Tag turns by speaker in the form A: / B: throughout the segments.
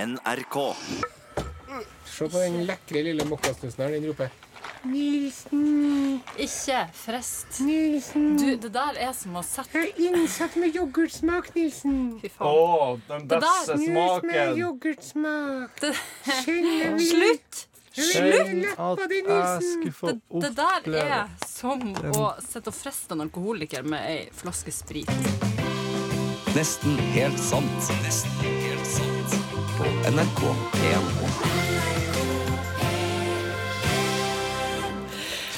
A: NRK.
B: Se på den lekre lille mokkasnusen her. Den roper.
C: Nilsen,
D: Ikke frist.
C: Nilsen.
D: Du, det der er som å sette
C: Jeg er innsatt med yoghurtsmak, Nilsen.
D: Fy
E: Å,
D: faen.
E: den
D: der-
E: beste
C: Snus med
E: smaken!
C: yoghurtsmak.
D: Det,
C: Kjenner vi
D: slutt!
C: Kjenner leppa di, Nilsen?
F: få
D: Det, det der er som å sitte og friste en alkoholiker med ei flaske sprit.
G: Nesten helt sant. Nesten helt sant. På NRK1.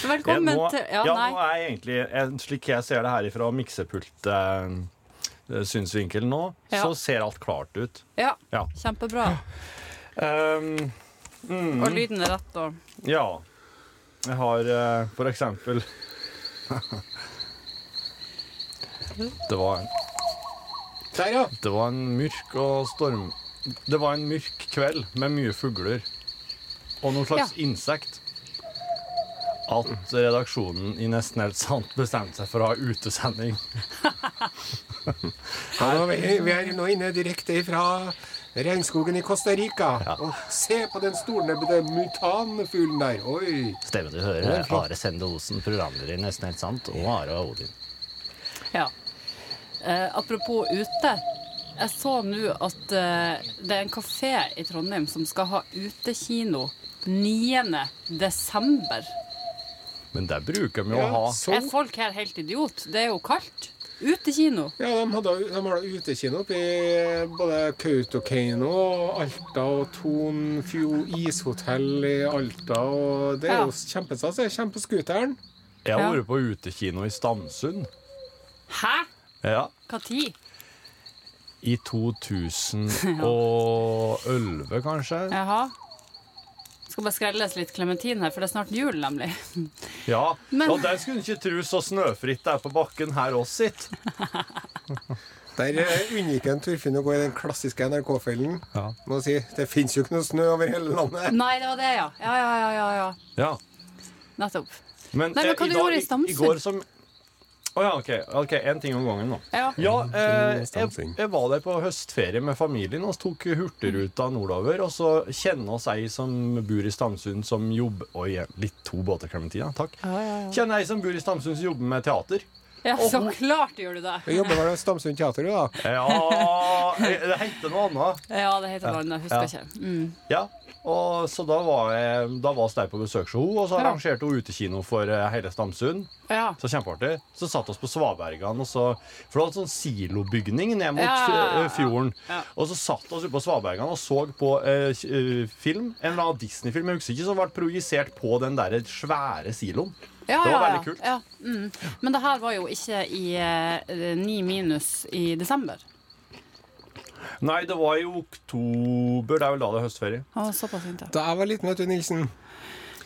D: Velkommen
E: Jeg må-
D: til Ja,
E: Ja, nå
D: nei.
E: er jeg egentlig, en- slik jeg ser det her ifra miksepult-synsvinkelen eh, nå,
D: Ja.
E: så ser alt klart ut.
D: Ja,
E: Ja.
D: kjempebra.
E: Ehm,
D: Og lyden er rett og
E: ja. Jeg har eh, for eksempel Det var en
B: Der, ja.
E: Det var en mørk og storm... Det var en mørk kveld med mye fugler og noen slags insekt. At redaksjonen i Nesten helt sant bestemte seg for å ha utesending.
B: ja nå, vi, vi er nå inne direkte fra regnskogen i Costa Rica. Og se på den stornebbede mutanfuglen der. Oi.
H: Stemmen du hører, er Are Sende Osen, programleder i Nesten helt sant, og Are og Odin.
D: Ja. Eh, apropos ute. Jeg så nå at eh, det er en kafé i Trondheim som skal ha utekino 9. desember.
E: Men det bruker vi å ha.
B: Ja, så.
D: Er folk her helt idiot? Det er jo kaldt. Utekino.
B: Ja, de hadde, de hadde utekino oppi både Kautokeino og Alta og Tonfjord ishotell i Alta. Og det er
D: Ja.
B: jo kjempestas. det. Kjempescooteren.
E: Jeg
D: Ja.
E: har vært på utekino i Stamsund.
D: Hæ?
E: Ja.
D: Hva tid?
E: I 2011, kanskje.
D: Jaha. Skal bare skrelles litt klementin her, for det er snart jul, nemlig.
E: Ja.
D: Men-
E: Og der skulle du ikke tro så snøfritt det er på bakken her oss sitt.
B: Der eh, unngikk en Torfinn å gå i den klassiske NRK-fellen.
E: Ja.
B: Må si, Det fins jo ikke noe snø over hele landet.
D: Nei, det var det, ja. Ja, ja, ja. ja, ja.
E: Ja.
D: Nettopp.
E: Men,
D: Nei, men
E: eh,
D: hva du
E: dag-
D: gjorde i Stamsund?
E: I går som... Å ja, OK. ok, Én ting om gangen nå.
D: Ja.
E: Ja, eh, jeg,
B: Stamsund.
E: jeg var der på høstferie med familien. Vi tok hurtigruta nordover. Og så kjenner oss ei som bor i Stamsund som jobber Oi, litt to båter, Clementina. Takk. Kjenner ei som bor i Stamsund som jobber med teater.
D: ja så klart gjør du det.
B: Jeg jobber vel ved Stamsund teater, jo, da.
E: Ja eh, Det heter noe annet.
D: Ja, det heter noe annet. Husker
E: Ja.
D: ikke. Mm.
E: Ja. Og så da var jeg Da var vi der på besøk hos henne, og så
D: Ja.
E: arrangerte hun utekino for eh, hele Stamsund.
D: Ja.
E: Så kjempeartig. Så satt oss på Svabergene, og så, for det var en sånn silobygning ned mot
D: Ja, ja, ja,
E: eh, fjorden.
D: ja.
E: Og så satt oss ute på Svabergene og så på eh, k- eh, film, en eller annen Disney-film, jeg husker ikke, som ble projisert på den der svære siloen.
D: Ja, ja,
E: Det var
D: ja.
E: veldig kult.
D: Ja. Mm. Men det her var jo ikke i eh, 9 minus i desember.
E: Nei, det var i oktober, det er vel da det er høstferie.
D: Å, såpass fint, ja.
B: Da jeg var liten, vet du, Nilsen.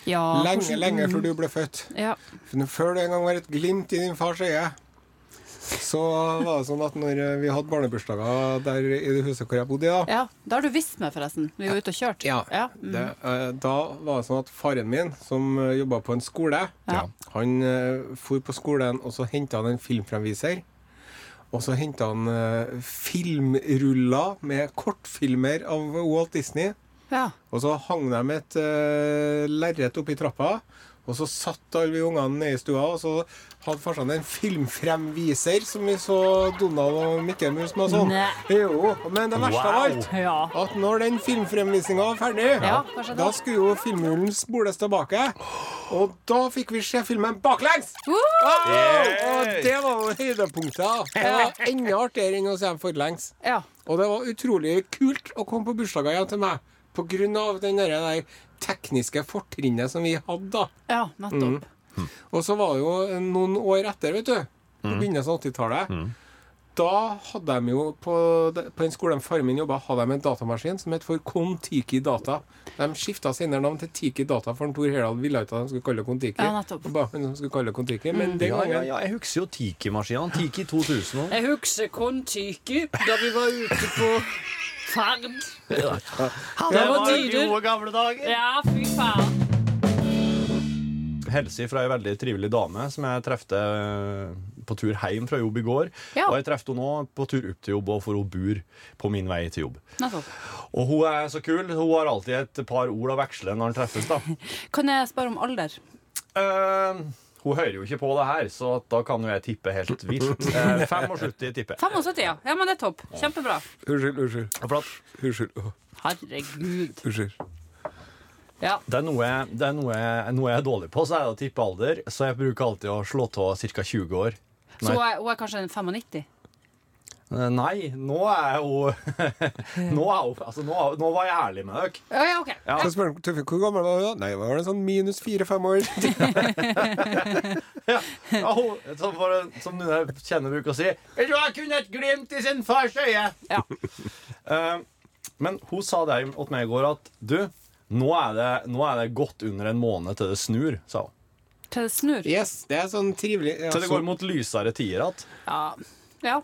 D: ja.
B: Lenge, lenge før du ble født.
D: Ja.
B: Men Før det en gang var et glimt i din fars øye, så var det sånn at når vi hadde barnebursdager der i det huset hvor jeg bodde, i da,
D: ja. Da har du visst meg, forresten. Vi var ute og kjørte.
B: Ja.
D: Mm.
B: det, eh, da var det sånn at faren min, som jobba på en skole,
D: Ja.
B: han eh, for på skolen, og så henta han en filmfremviser. Og så henta han eh, filmruller med kortfilmer av Walt Disney.
D: ja.
B: Og så hang de et uh, lerret oppi trappa, og så satt alle vi ungene nede i stua, og så hadde farsan en filmfremviser som vi så Donald og Mikkel Mus med og sånn.
D: Nei.
B: Jo, men det verste av alt
D: Ja.
B: at når den filmfremvisninga var ferdig,
D: Ja, hva skjedde da?
B: da skulle jo filmrullen spoles tilbake. Og da fikk vi se filmen baklengs! Wow! Og det var jo høydepunktet. Det var enda artigere enn å se den forlengs.
D: ja.
B: Og det var utrolig kult å komme på bursdager igjen til meg. På grunn av den der, der tekniske fortrinnet som vi hadde da.
D: Ja,
B: Mm.
D: nettopp.
B: Og så var det jo noen år etter, vet du. På begynnelsen av 80-tallet. Da hadde de jo på, de- på den skolen faren min jobba, hadde de en datamaskin som het for Kon-Tiki Data. De skifta senere navn til Tiki Data, for Tor Herdal ville ikke at de skulle kalle det Kon-Tiki.
D: Ja, nettopp. Mm.
B: Og ba han om de skulle kalle det Kon-Tiki. Men den
E: Ja,
B: gangen
E: ja, ja, jeg husker jo Tiki-maskinene. Tiki 2000 også.
D: Jeg husker Kon-Tiki da vi var ute på ferd.
E: Det
D: var
E: jo
D: dyrer.
E: gode gamle dager.
D: Ja, fy faen.
E: Helse fra ei veldig trivelig dame som jeg trefte eh, på tur hjem fra jobb i går,
D: Ja.
E: og jeg traff henne nå på tur opp til jobb, og for hun bor på min vei til jobb.
D: Nettopp.
E: Og hun er så kul. Hun har alltid et par ord å veksle når han treffes, da.
D: Kan jeg spørre om alder?
E: Eh, hun hører jo ikke på det her, så at da kan jo jeg tippe helt vilt. Uh, 75 tipper jeg.
D: 75, ja. Ja, men det er topp. Kjempebra.
B: Unnskyld, unnskyld.
E: For at
B: Unnskyld. Åh,
D: Herregud.
B: unnskyld.
D: Ja.
E: det er, noe, jeg- det er noe, jeg- noe jeg er dårlig på, så er det å tippe alder. Så jeg bruker alltid å slå av ca. 20 år.
D: Så hun er, hun er kanskje en 95?
E: Eh, Nei, nå er hun Nå, er hun, altså, nå, er- nå var jeg ærlig med dere.
D: Ja, ja, OK.
E: Ja.
B: Så spør han Tuffe, hvor gammel var du da? Nei, da var det sånn minus fire-fem år.
E: Ja, hun, som, for, som dine kjenner bruker å si Jeg tror jeg kunne et glimt i sin fars øye.
D: Ja.
E: Eh, men hun sa det til meg i går at du, nå er, det, nå er det godt under en måned til det snur, sa hun.
D: Til det snur?
B: Yes, det er sånn trivelig ja,
E: Til det
B: så-
E: går mot lysere tider igjen.
D: Ja. ja.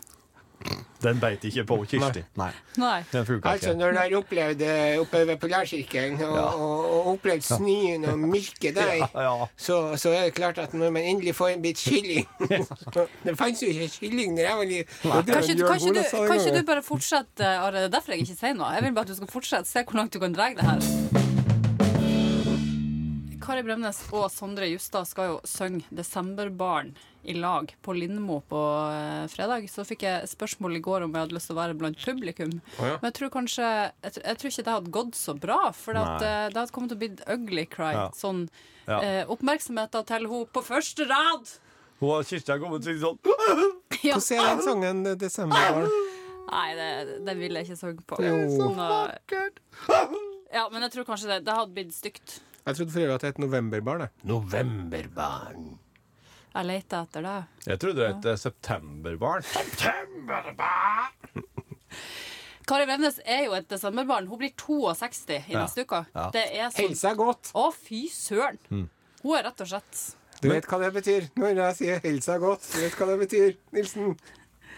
E: Den beit ikke på Kirsti. Nei.
D: Nei.
E: Den funka
B: Altså,
E: ikke.
B: når du har opplevd eh, oppe ved Polarsirkelen og, og, og opplevd snøen og mørket der,
E: Ja,
B: så, så er det klart at når man endelig får en bit kylling Det fantes jo ikke kylling da jeg var liten.
D: Kanskje, kanskje, du, kanskje du bare fortsetter, Are. Det er derfor jeg ikke sier noe. Jeg vil bare at du skal fortsette. Se hvor langt du kan dra det her. Kari Bremnes og Sondre Justad skal jo synge 'Desemberbarn' i lag på Lindmo på eh, fredag. Så fikk jeg spørsmål i går om jeg hadde lyst til å være blant publikum. Men jeg tror kanskje Jeg, tr- jeg tror ikke det hadde gått så bra, for det at,
E: Nei.
D: eh, det hadde kommet til å bli et ugly cry.
E: Ja.
D: Sånn
E: Ja.
D: eh, oppmerksomheten til hun på første rad!
E: Hun og Kirsti har kommet til sånn
D: Ja.
B: Hvordan er den sangen eh, 'Desemberbarn'?
D: Ah, Nei, det, det vil jeg ikke synge på. Det er så vakkert! Ja, men jeg tror kanskje det. Det hadde blitt stygt.
B: Jeg trodde for øvrig at det het 'Novemberbarn'.
D: Sånn.
B: jeg.
D: Jeg leter etter det.
E: Jeg trodde det het eh, septemberbarn.
D: Kari Bremnes er jo et desemberbarn. Hun blir 62 i neste uke.
E: Ja. Mm.
D: Det er sånn
B: Helse er godt.
D: Å, fy søren! Hun er rett og slett
B: Du vet hva det betyr når jeg sier 'helse er godt'. Du vet hva det betyr, Nilsen.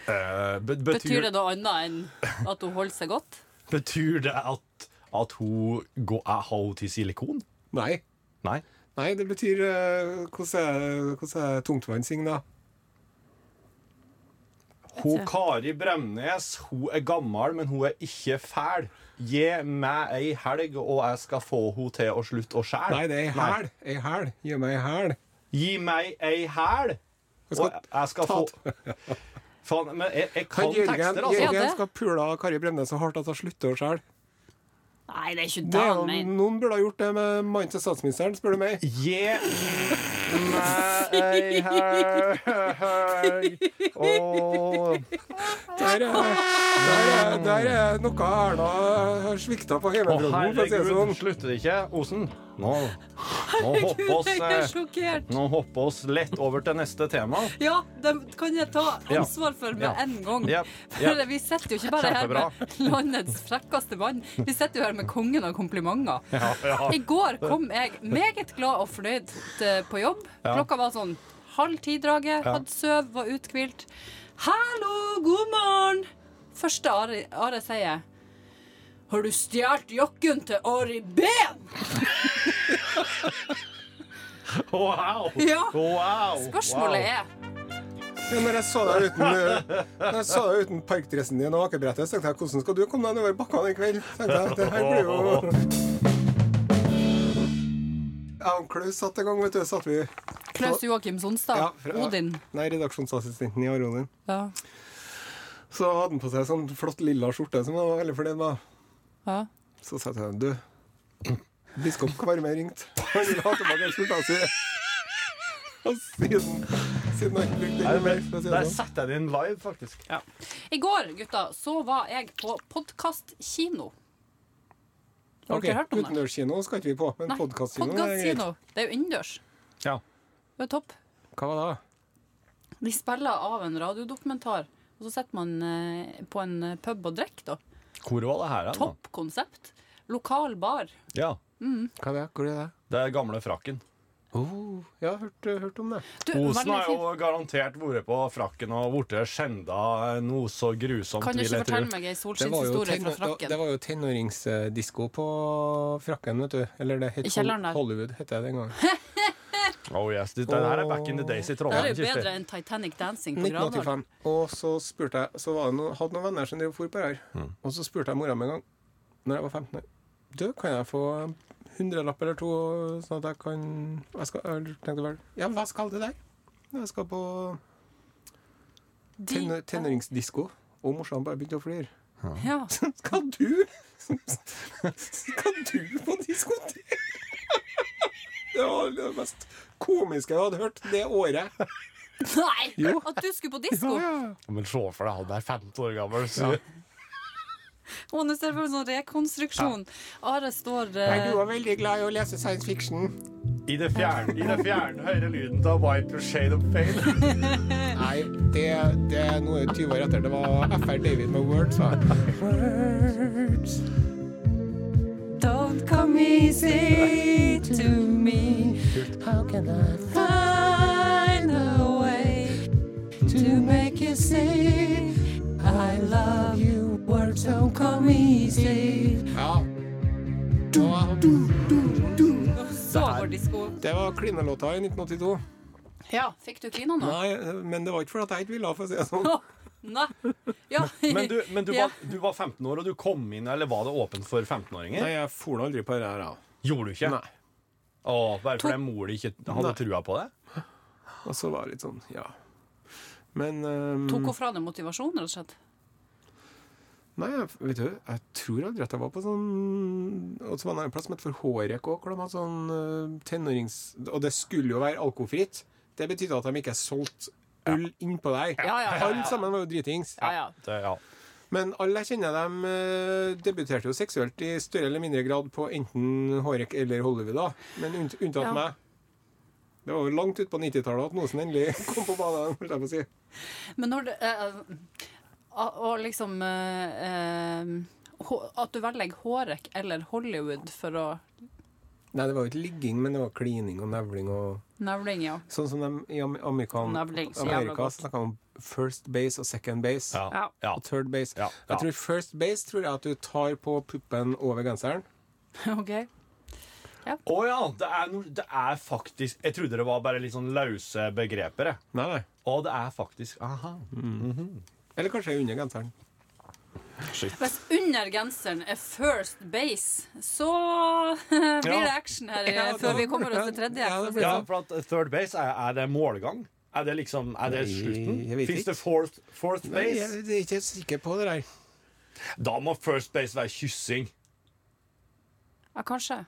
E: Eh, be-
D: Betyr
E: betyr,
D: det noe annet enn at hun holder seg godt?
E: betyr det at, at hun går, er har hun til silikon?
B: Nei.
E: Nei.
B: Nei, det betyr eh, Hvordan er- hvordan er tungtvannssing, da?
E: Hun Kari Bremnes hun er gammel, men hun er ikke fæl. Gi meg ei helg, og jeg skal få hun til å slutte å skjære.
B: Nei, det er ei
E: Nei.
B: hæl. Ei hæl. Gi meg ei hæl.
E: Gi meg ei hæl,
B: Jeg
E: og
B: skal
E: jeg- jeg skal
B: ta-
E: få Faen, men jeg, jeg
B: Han
E: kan
B: Jørgen,
E: tekster, altså.
D: Ja,
B: Jørgen
D: det.
B: skal pule Kari Bremnes så hardt at hun slutter å skjelle.
D: Nei, det er ikke
B: Det
D: det
B: er
D: han
B: jo-
D: mener.
B: Noen burde ha gjort det med mannen til statsministeren, spør du meg.
E: Gi meg ei helg og
B: Der er, der er, der er noe Erna har svikta på
E: Å,
B: hjemmefronten, for å si det
E: herregud,
B: sånn.
E: slutter det ikke? Osen, nå, nå hopper oss
D: Jeg er
E: eh,
D: sjokkert.
E: Nå hopper oss lett over til neste tema.
D: Ja, det kan jeg ta ansvar for med
E: Ja.
D: en gang.
E: Jep,
D: For
E: jep.
D: Vi sitter jo ikke bare her med landets frekkeste mann, vi sitter jo her med kongen av komplimenter. I går kom jeg meget glad og fornøyd til- på jobb. Klokka var sånn halv ti-draget, hadde søv, var uthvilt. Hallo, god morgen! Første Are, Are sier Har du stjålet jakken til Ari Ben?
E: Wow!
D: Ja.
E: wow.
D: Spørsmålet er
B: Ja, når jeg så deg uten, eh, når jeg så deg uten parkdressen din og akebrettet, så tenkte jeg hvordan skal du komme deg nedover bakkene i kveld? Tenkte jeg, det her blir jo... Jeg og Klaus satt en gang, vet du. Satt vi
D: Klaus Joakim Sonstad,
B: Ja, fra-
D: Odin.
B: Nei, redaksjonsassistenten i Arolin.
D: Ja.
B: Så hadde han på seg sånn flott lilla skjorte som han var veldig fornøyd med.
D: Ja.
B: Så sa jeg til ham Du, biskop Kvarme ringte. Han ville ha tilbake skjorta si. Og siden, siden har jeg ikke brukt
E: Nei,
B: den mer.
E: men
B: for å si
E: Der
B: det sånn.
E: setter jeg den live, faktisk.
D: I går, gutta, så var jeg på podkastkino. Har
B: Ok,
D: dere hørt om det?
B: Utendørskino skal ikke vi på, men
D: Nei,
B: podkastkino er greit.
D: Podcastkino. Det er jo innendørs.
E: Ja.
D: Det er topp.
B: Hva var det?
D: De spiller av en radiodokumentar, og så sitter man eh, på en eh, pub og drikker, da.
E: Hvor var det her? da?
D: Topp konsept. Lokal bar.
E: Ja.
B: Hva er det? Hvor er det?
E: Det er gamle frakken.
B: Oh, ja, hørt, hørt om det.
D: Du,
E: Osen
D: veldig
E: har
D: fint.
E: jo garantert vært på frakken og blitt skjenda noe så grusomt,
D: Kan du
E: vil
D: ikke
E: jeg tro.
D: fortelle meg ei solskinnshistorie fra frakken?
B: det var jo tenåringsdisko på frakken, vet du. Eller det het
D: I kjelleren der.
B: Hollywood, het det den gangen.
E: Oh yes, det, det her er back in the days i
D: Det her
E: Trondheim.
D: er jo bedre
E: Kirsti.
D: enn Titanic dancing på Gravdal.
B: 1985. Og så spurte jeg Så var det noen, hadde noen venner som drev og for på det her. Og så spurte jeg mora mi en gang, Når jeg var 15 år, du, kan jeg få en hundrelapp eller to, sånn at jeg kan Jeg, skal, jeg tenkte vel Ja, hva skal det der? Jeg skal på
D: De-
B: tenor, tenåringsdisko. Og morsan bare begynte å flire.
D: Ja.
B: Skal du Skal du på diskotek? Det var det mest komiske jeg hadde hørt det året.
D: Nei!
B: Jo.
D: At du skulle på disko!
E: Men se for deg han er 15 år gammel. Så.
D: Og nå ser jeg for meg en sånn rekonstruksjon. Are står eh,
B: Jeg var veldig glad i å lese science fiction.
E: I det fjerne, i det fjerne hører lyden av White Shade of Fade.
B: Nei, det, det er noe 20 år etter. Det var FR David med Words. Da.
D: Don't come easy to me. How can I find a way to make you see I love you? Words don't come easy.
B: Ja. Og
D: Så var disko.
B: det var klinelåta i 1982.
D: Ja, fikk du klina nå?
B: Nei, men det var ikke fordi jeg ikke ville, for å si det sånn.
D: Nei. Ja.
E: Men, du, men du,
D: Ja.
E: var, du var 15 år, og du kom inn, eller var det åpent for 15-åringer?
B: Nei, jeg for nå aldri på det her. da.
E: Gjorde du ikke?
B: Nei.
E: Å, bare fordi mor di ikke hadde
B: Nei.
E: trua på det?
B: Og så var det litt sånn, ja. Men ehm,
D: Tok hun fra deg motivasjonen, rett og slett?
B: Nei, jeg, vet du, jeg tror aldri at jeg var på sånn Og så var det en plass som het for Hårek òg, hvor de hadde sånn eh, tenårings... Og det skulle jo være alkofritt. Det betydde at de ikke solgte øl innpå der.
D: Ja, ja, ja,
B: Alle sammen var jo dritings.
D: Ja, ja.
E: det ja.
B: Men alle jeg kjenner, dem eh, debuterte jo seksuelt i større eller mindre grad på enten Hårek eller Hollywood, da. Men unnt, unntatt
D: Ja.
B: meg. Det var jo langt ut på 90-tallet at noen som endelig kom på banen. holdt jeg på å si.
D: Men når det eh, Og og liksom eh, eh, hå- At du velger Hårek eller Hollywood for å
B: Nei, det var jo ikke ligging, men det var klining og nevling og
D: Nevling, ja.
B: Sånn som de i Am- Amerikan,
D: Navling, så jævla
B: Amerika
D: godt.
B: snakker om first base og second base.
E: Ja.
D: Ja.
E: ja.
B: Og third base.
E: Ja, ja.
B: Jeg tror first base tror jeg at du tar på puppen over genseren.
D: OK.
E: Å ja, det er, no, det er faktisk Jeg trodde det var bare litt sånn løse begreper. jeg.
B: Nei, nei.
E: Å, det er faktisk Aha.
B: Eller kanskje under genseren.
D: Hvis under genseren er first base, så blir det action her eh,
B: Ja, da-
D: før vi kommer oss til tredje.
B: Ja, det blir-
E: Ja, for at eh, third base, er, er det målgang? Er det liksom Er det
B: Nei,
E: slutten?
B: jeg vet
E: Fins
B: ikke.
E: det fourth, fourth
B: Nei,
E: base?
B: jeg er ikke sikker på det der.
E: Da må first base være kyssing.
D: Ja, kanskje.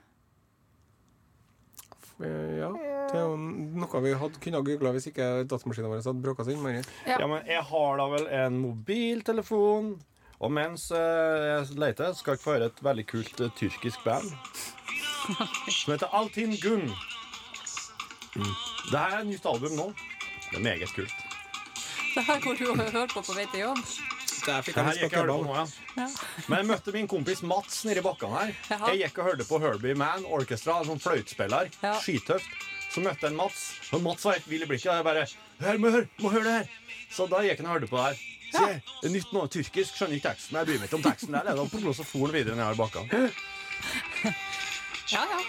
B: Eh, Ja, det er jo noe vi hadde kunne ha googla hvis ikke datamaskinene våre hadde bråka seg inn. Mari.
D: Ja.
E: Ja, men jeg har da vel en mobiltelefon. Og mens eh, jeg leter, skal dere få høre et veldig kult eh, tyrkisk band som heter Altin Gun. Det her er et nytt album nå. Det er meget kult.
D: Det her går du og hører på på vei til jobb.
B: Der fikk
E: Det
B: jeg lyst
E: her
B: på
E: gikk jeg og hørte på
B: kebab.
E: nå, ja. Men jeg møtte min kompis Mats nede i bakkene her.
D: Jaha.
E: Jeg gikk og hørte på Herbie Man Orchestra, en sånn fløytespiller.
D: Ja.
E: Skitøft. Så møtte jeg en Mats, og Mats var helt vill i blikket. Og jeg bare Hør, må høre, må høre det her! Så da gikk han og hørte på det her. Se, det er nytt nå, tyrkisk, skjønner ikke teksten. Jeg bryr meg ikke om teksten der. Da og så for han videre ned i bakkene.
D: Ja, ja.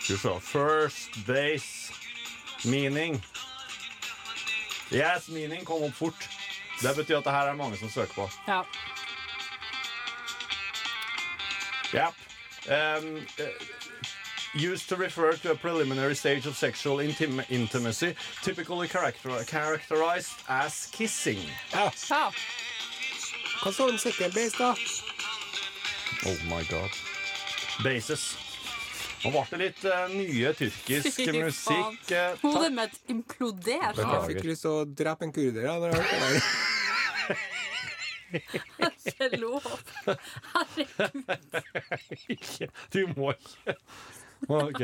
E: Skal vi se. First base meaning. Yes, meaning kom opp fort. Det betyr at det her er mange som søker på.
D: ja.
E: Yep. Um, uh, used to refer to a preliminary stage of sexual intim- intimacy, typically character- characterized as kissing.
D: ja.
B: Hva sa du om second base, da?
E: Oh my god. Basis. Nå ble det litt eh, nye tyrkisk
D: Fy faen.
E: musikk. eh, takk.
D: Hodet mitt imploderte.
B: Jeg fikk lyst til å drepe en kurder. Ja, når jeg hørte det der.
D: Ikke lov. Herregud.
E: Ikke. Du må ikke. OK.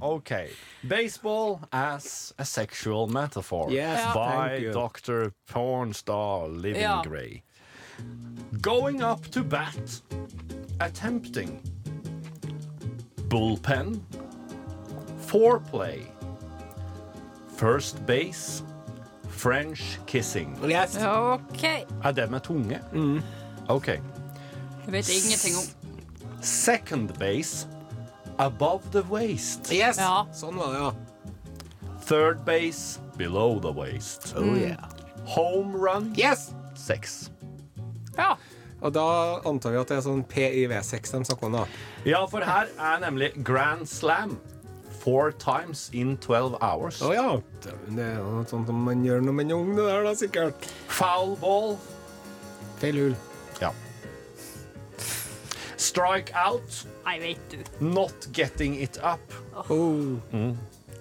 E: OK. Baseball as a sexual metaphor
B: Yes, Ja. thank
E: by
B: you.
E: Dr. Pornstar Living
D: Ja.
E: Grey. Going up to bat, attempting bullpen, foreplay, first base, French kissing.
B: Yes.
D: OK.
E: Er det med tunge? OK.
D: Jeg vet ingenting om
E: Second base Above the waist.
B: Yes!
D: Ja.
B: Sånn var det, ja.
E: Third base. Below the waist.
H: Oh, yeah.
E: Home run.
B: Yes!
E: Sex.
D: ja.
B: Og da antar vi at det er sånn PIV6 de snakker om, da.
E: Ja, for her er nemlig Grand Slam. Four times in 12 hours.
B: Å ja. Det er jo noe sånt som man gjør når man er ung, det der, da, sikkert.
E: Foul ball.
B: Feil hull.
E: Ja. Strike out.
D: Nei, vet du.
E: Not getting it up.
B: Oh.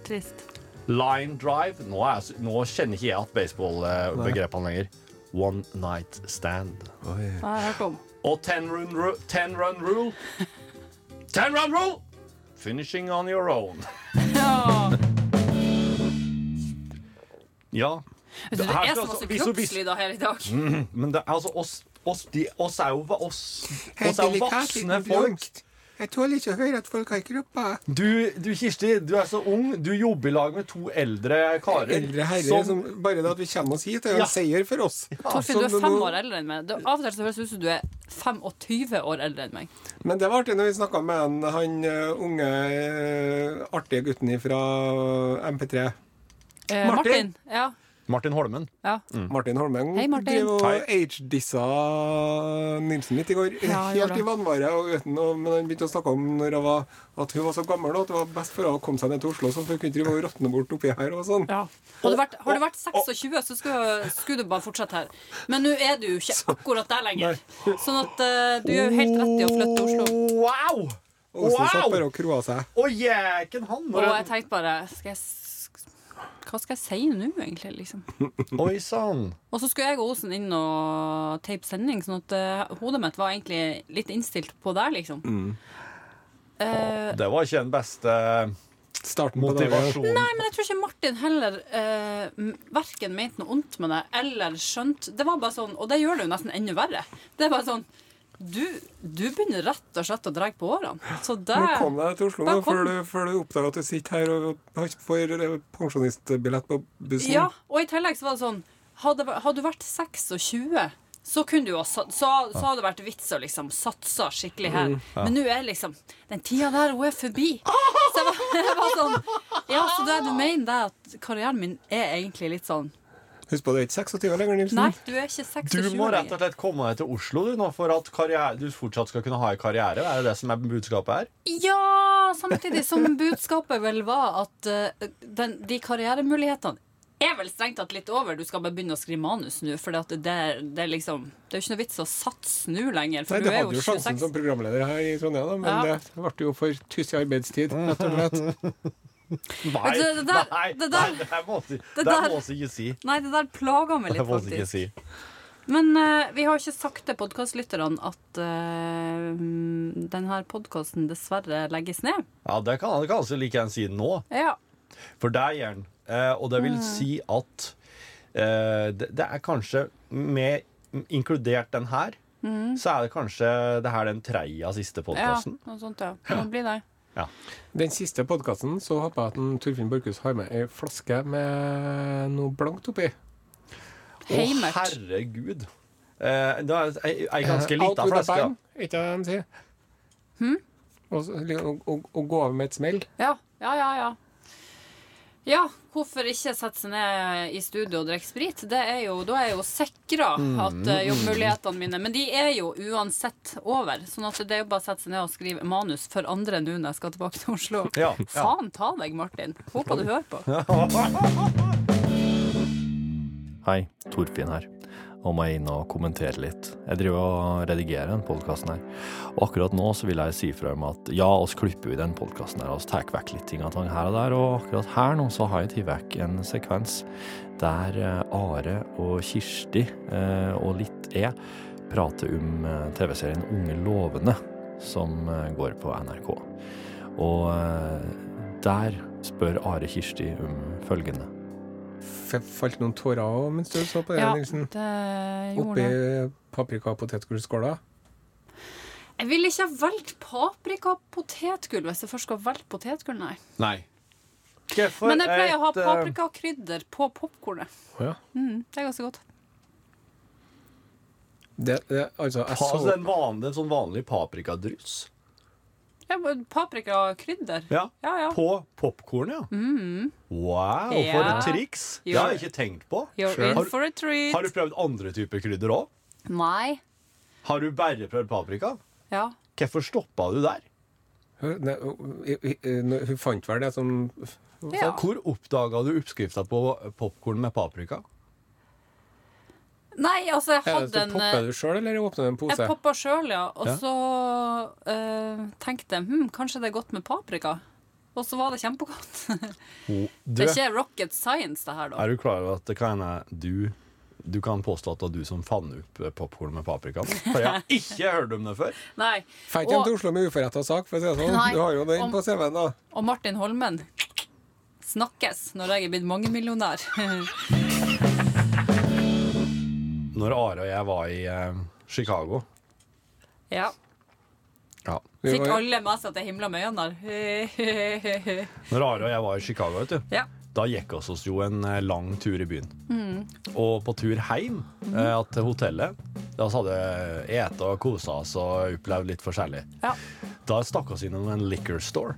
D: Trist.
E: Line drive. Nå, er, jeg s- nå kjenner ikke jeg at baseballbegrepene lenger. One night stand.
D: Hva har jeg hørt om?
E: Og ten run, ru- ten run rule. Ten run rule! Finishing on your own.
D: Ja.
E: Ja.
D: Vet du, det
E: Her
D: er
E: skal
D: så
E: altså-
D: masse
E: hvis- hvis-
D: kroppslyder her i dag.
E: Men det, altså, oss, oss, de, oss er jo va- oss, oss er jo voksne folk.
B: Jeg tåler ikke å høre at folk har kropper.
E: Du, du, Kirsti, du er så ung. Du jobber i lag med to eldre karer.
B: Eldre herrer
E: som-
B: som Bare det at vi kommer oss hit, er jo
E: Ja.
B: en seier for oss.
D: Torfinn,
B: Så
D: du er
B: Altså, nå-
D: fem år eldre enn meg. Du, av og til så høres det ut som du er 25 år eldre enn meg.
B: Men det var artig når vi snakka med han, han eh, unge, eh, artige gutten fra MP3.
D: Eh,
B: Martin? Mm.
D: Martin. Ja.
E: Martin Holmen.
D: ja.
B: Martin Holmen
D: Hei, Martin.
B: drev og
E: Mm. Hei.
B: age-dissa Nilsen mitt i går.
D: Ja, gjorde
B: Helt i vannvare. Og uten å, men han begynte å snakke om når jeg var, at hun var så gammel og at det var best for henne å komme seg ned til Oslo, så hun kunne ikke drive og råtne bort oppi her og sånn.
D: Ja. Har du vært, har du vært 26, så skulle, skulle du bare fortsette her. Men nå er du jo ikke akkurat der lenger. Sånn at eh, du gjør jo helt rett i å flytte til Oslo.
E: Wow!
B: Og Osen satt bare
E: Wow!
B: og kroa seg.
E: Og jæken han!
D: Og
E: Når
D: jeg
E: jeg...
D: tenkte bare skal jeg, s- Hva skal jeg si nå, egentlig? liksom?
E: Oi sann.
D: Og så skulle jeg og Osen inn og tape sending, sånn at eh, hodet mitt var egentlig litt innstilt på der, liksom. Eh,
E: Det var ikke den beste
B: Starten på dagen.
E: motivasjonen.
D: Nei, men jeg tror ikke Martin heller eh, verken mente noe ondt med det eller skjønt. Det var bare sånn, og det gjør det jo nesten enda verre. Det er bare sånn Du, du begynner rett og slett å dra på årene. Så det
B: Men kom deg til Oslo
D: Da
B: nå,
D: kom-
B: før du, før du oppdager at du sitter her og har ikke- får eh, pensjonistbillett på bussen.
D: Ja, og i tillegg så var det sånn Hadde, hadde du vært 26 så kunne du jo ha sa- så, så hadde det vært vits å liksom satse skikkelig her.
E: Mm,
D: Men nå er liksom Den tida der, hun er forbi. Så jeg var, jeg var sånn Ja, så det du mener, det er at karrieren min er egentlig litt sånn
B: Husk på, du er ikke 26 lenger, Nilsen.
D: Nei, du er ikke 26
E: Du må rett og slett komme deg til Oslo du, nå for at karriere, du fortsatt skal kunne ha en karriere. Er det det som er budskapet her?
D: Ja, samtidig som budskapet vel var at eh, den, de karrieremulighetene er vel strengt tatt litt over. Du skal bare begynne å skrive manus nå. For det, er- det er liksom Det er jo ikke noe vits å satse nå lenger.
B: Nei,
D: For
B: du
D: du er
B: hadde
D: jo
B: jo sjansen
D: 26.
B: som programleder her i Trondheim, da, men
D: Ja.
B: det ble jo for tyst i arbeidstid, rett og slett.
E: Nei,
D: Det- det der-
E: nei,
D: det der-
E: nei, det her må vi det
D: der-
E: her må vi ikke si.
D: Nei, det der plaga meg
E: Det
D: litt,
E: må vi
D: faktisk.
E: ikke si.
D: Men eh, vi har ikke sagt til podkastlytterne at eh, denne podkasten dessverre legges ned.
E: Ja, det kan han kanskje like gjerne si nå,
D: Ja.
E: for der gjør han. Eh, og det
D: Mm.
E: vil si at eh, det, det er kanskje med inkludert den her, så er det kanskje det her den tredje siste
D: Mm. ja
E: podkasten.
D: noe sånt, ja. Det må bli det.
B: Den siste podkasten så håper jeg at en Torfinn Borchhus har med ei flaske med noe blankt oppi.
E: Å,
D: Heimert.
E: herregud. Eh, det er ei, ei ganske
B: Eh, Out
E: lita
B: with a
E: flaske.
B: bang, ikke det de sier?
D: Hm?
B: Og så- Og, og, og gå av med et smell.
D: Ja, ja, ja, ja. Ja, hvorfor ikke sette seg ned i studio og drikke sprit? Det er jo, da er jeg jo sikra
E: Mm.
D: at eh, jobbmulighetene mine Men de er jo uansett over. Sånn at det er jo bare å sette seg ned og skrive manus for andre nå når jeg skal tilbake til Oslo.
E: Ja, ja.
D: Faen ta deg, Martin. Håper du hører på.
A: Hei, Torfinn her. Og må jeg inn og kommentere litt. Jeg driver og redigerer den podkasten her. Og akkurat nå så vil jeg si fra om at ja, oss klipper jo i den podkasten her, oss tar vekk litt ting av tang her og der, og akkurat her nå så har jeg tatt vekk en sekvens der eh, Are og Kirsti eh, og litt E prater om eh, TV-serien Unge lovende, som eh, går på NRK. Og eh, der spør Are Kirsti om følgende.
B: F falt noen tårer òg mens du så på det,
D: Ja,
B: Nilsen?
D: det gjorde
B: Oppi
D: det.
B: paprika- og potetgullskåla.
D: Jeg ville ikke ha valgt paprika og potetgull hvis jeg først skulle ha valgt potetgull, nei.
E: Nei. Hvorfor
D: Men jeg pleier å ha
E: et, eh,
D: paprikakrydder på popkornet.
B: Ja.
D: Mm, det er ganske godt.
B: Det, det, altså, jeg
E: Pa, altså
B: så
E: en vanlig, sånn vanlig sånn paprikadryss.
D: Ja, men paprika og krydder.
E: Ja.
D: Ja, ja. Mm.
E: På popkorn, ja. Wow, for
D: Ja.
E: et triks! Det
D: Jo.
E: har jeg ikke tenkt på.
D: You're in
E: Har,
D: for a treat.
E: har du prøvd andre typer krydder òg?
D: Nei.
E: Har du bare prøvd paprika?
D: Ja.
E: Hvorfor stoppa du der?
B: Hun, nei, hun- hun- hun- hun fant vel det som
D: ja.
E: Hvor oppdaga du oppskrifta på popkorn med paprika?
D: Nei, altså, jeg
B: Er det
D: hadde
B: så
D: en
B: popper
D: eh,
B: du sjøl, eller åpner du en pose?
D: Jeg poppa sjøl, ja. Og
E: Ja.
D: så eh, tenkte jeg hm, kanskje det er godt med paprika. Og så var det kjempegodt.
E: Oh, Du,
D: Det er
E: er
D: ikke rocket science, det her, da.
E: du klar over at det kan hende du du kan påstå at det var du som fant opp eh, popkorn med paprika? For jeg har ikke hørt om det før.
D: Nei.
B: Får ikke hjem til
D: Og,
B: Oslo med uforretta sak, for å si det
D: Nei.
B: sånn. Du har jo den
D: Om-
B: på CV-en, da.
D: og Martin Holmen snakkes når jeg er blitt mangemillionær.
E: Når Are og jeg var i eh, Chicago
D: ja.
E: ja.
B: Vi
D: Fikk
B: var-
D: alle med seg at jeg himla med øynene.
E: Når Are og jeg var i Chicago, vet du,
D: ja.
E: Da gikk oss oss jo en eh, lang tur i byen. Og på tur hjem eh, til hotellet Da vi hadde et og kosa oss og opplevd litt forskjellig.
D: Ja.
E: Da stakk oss innom en liquor store.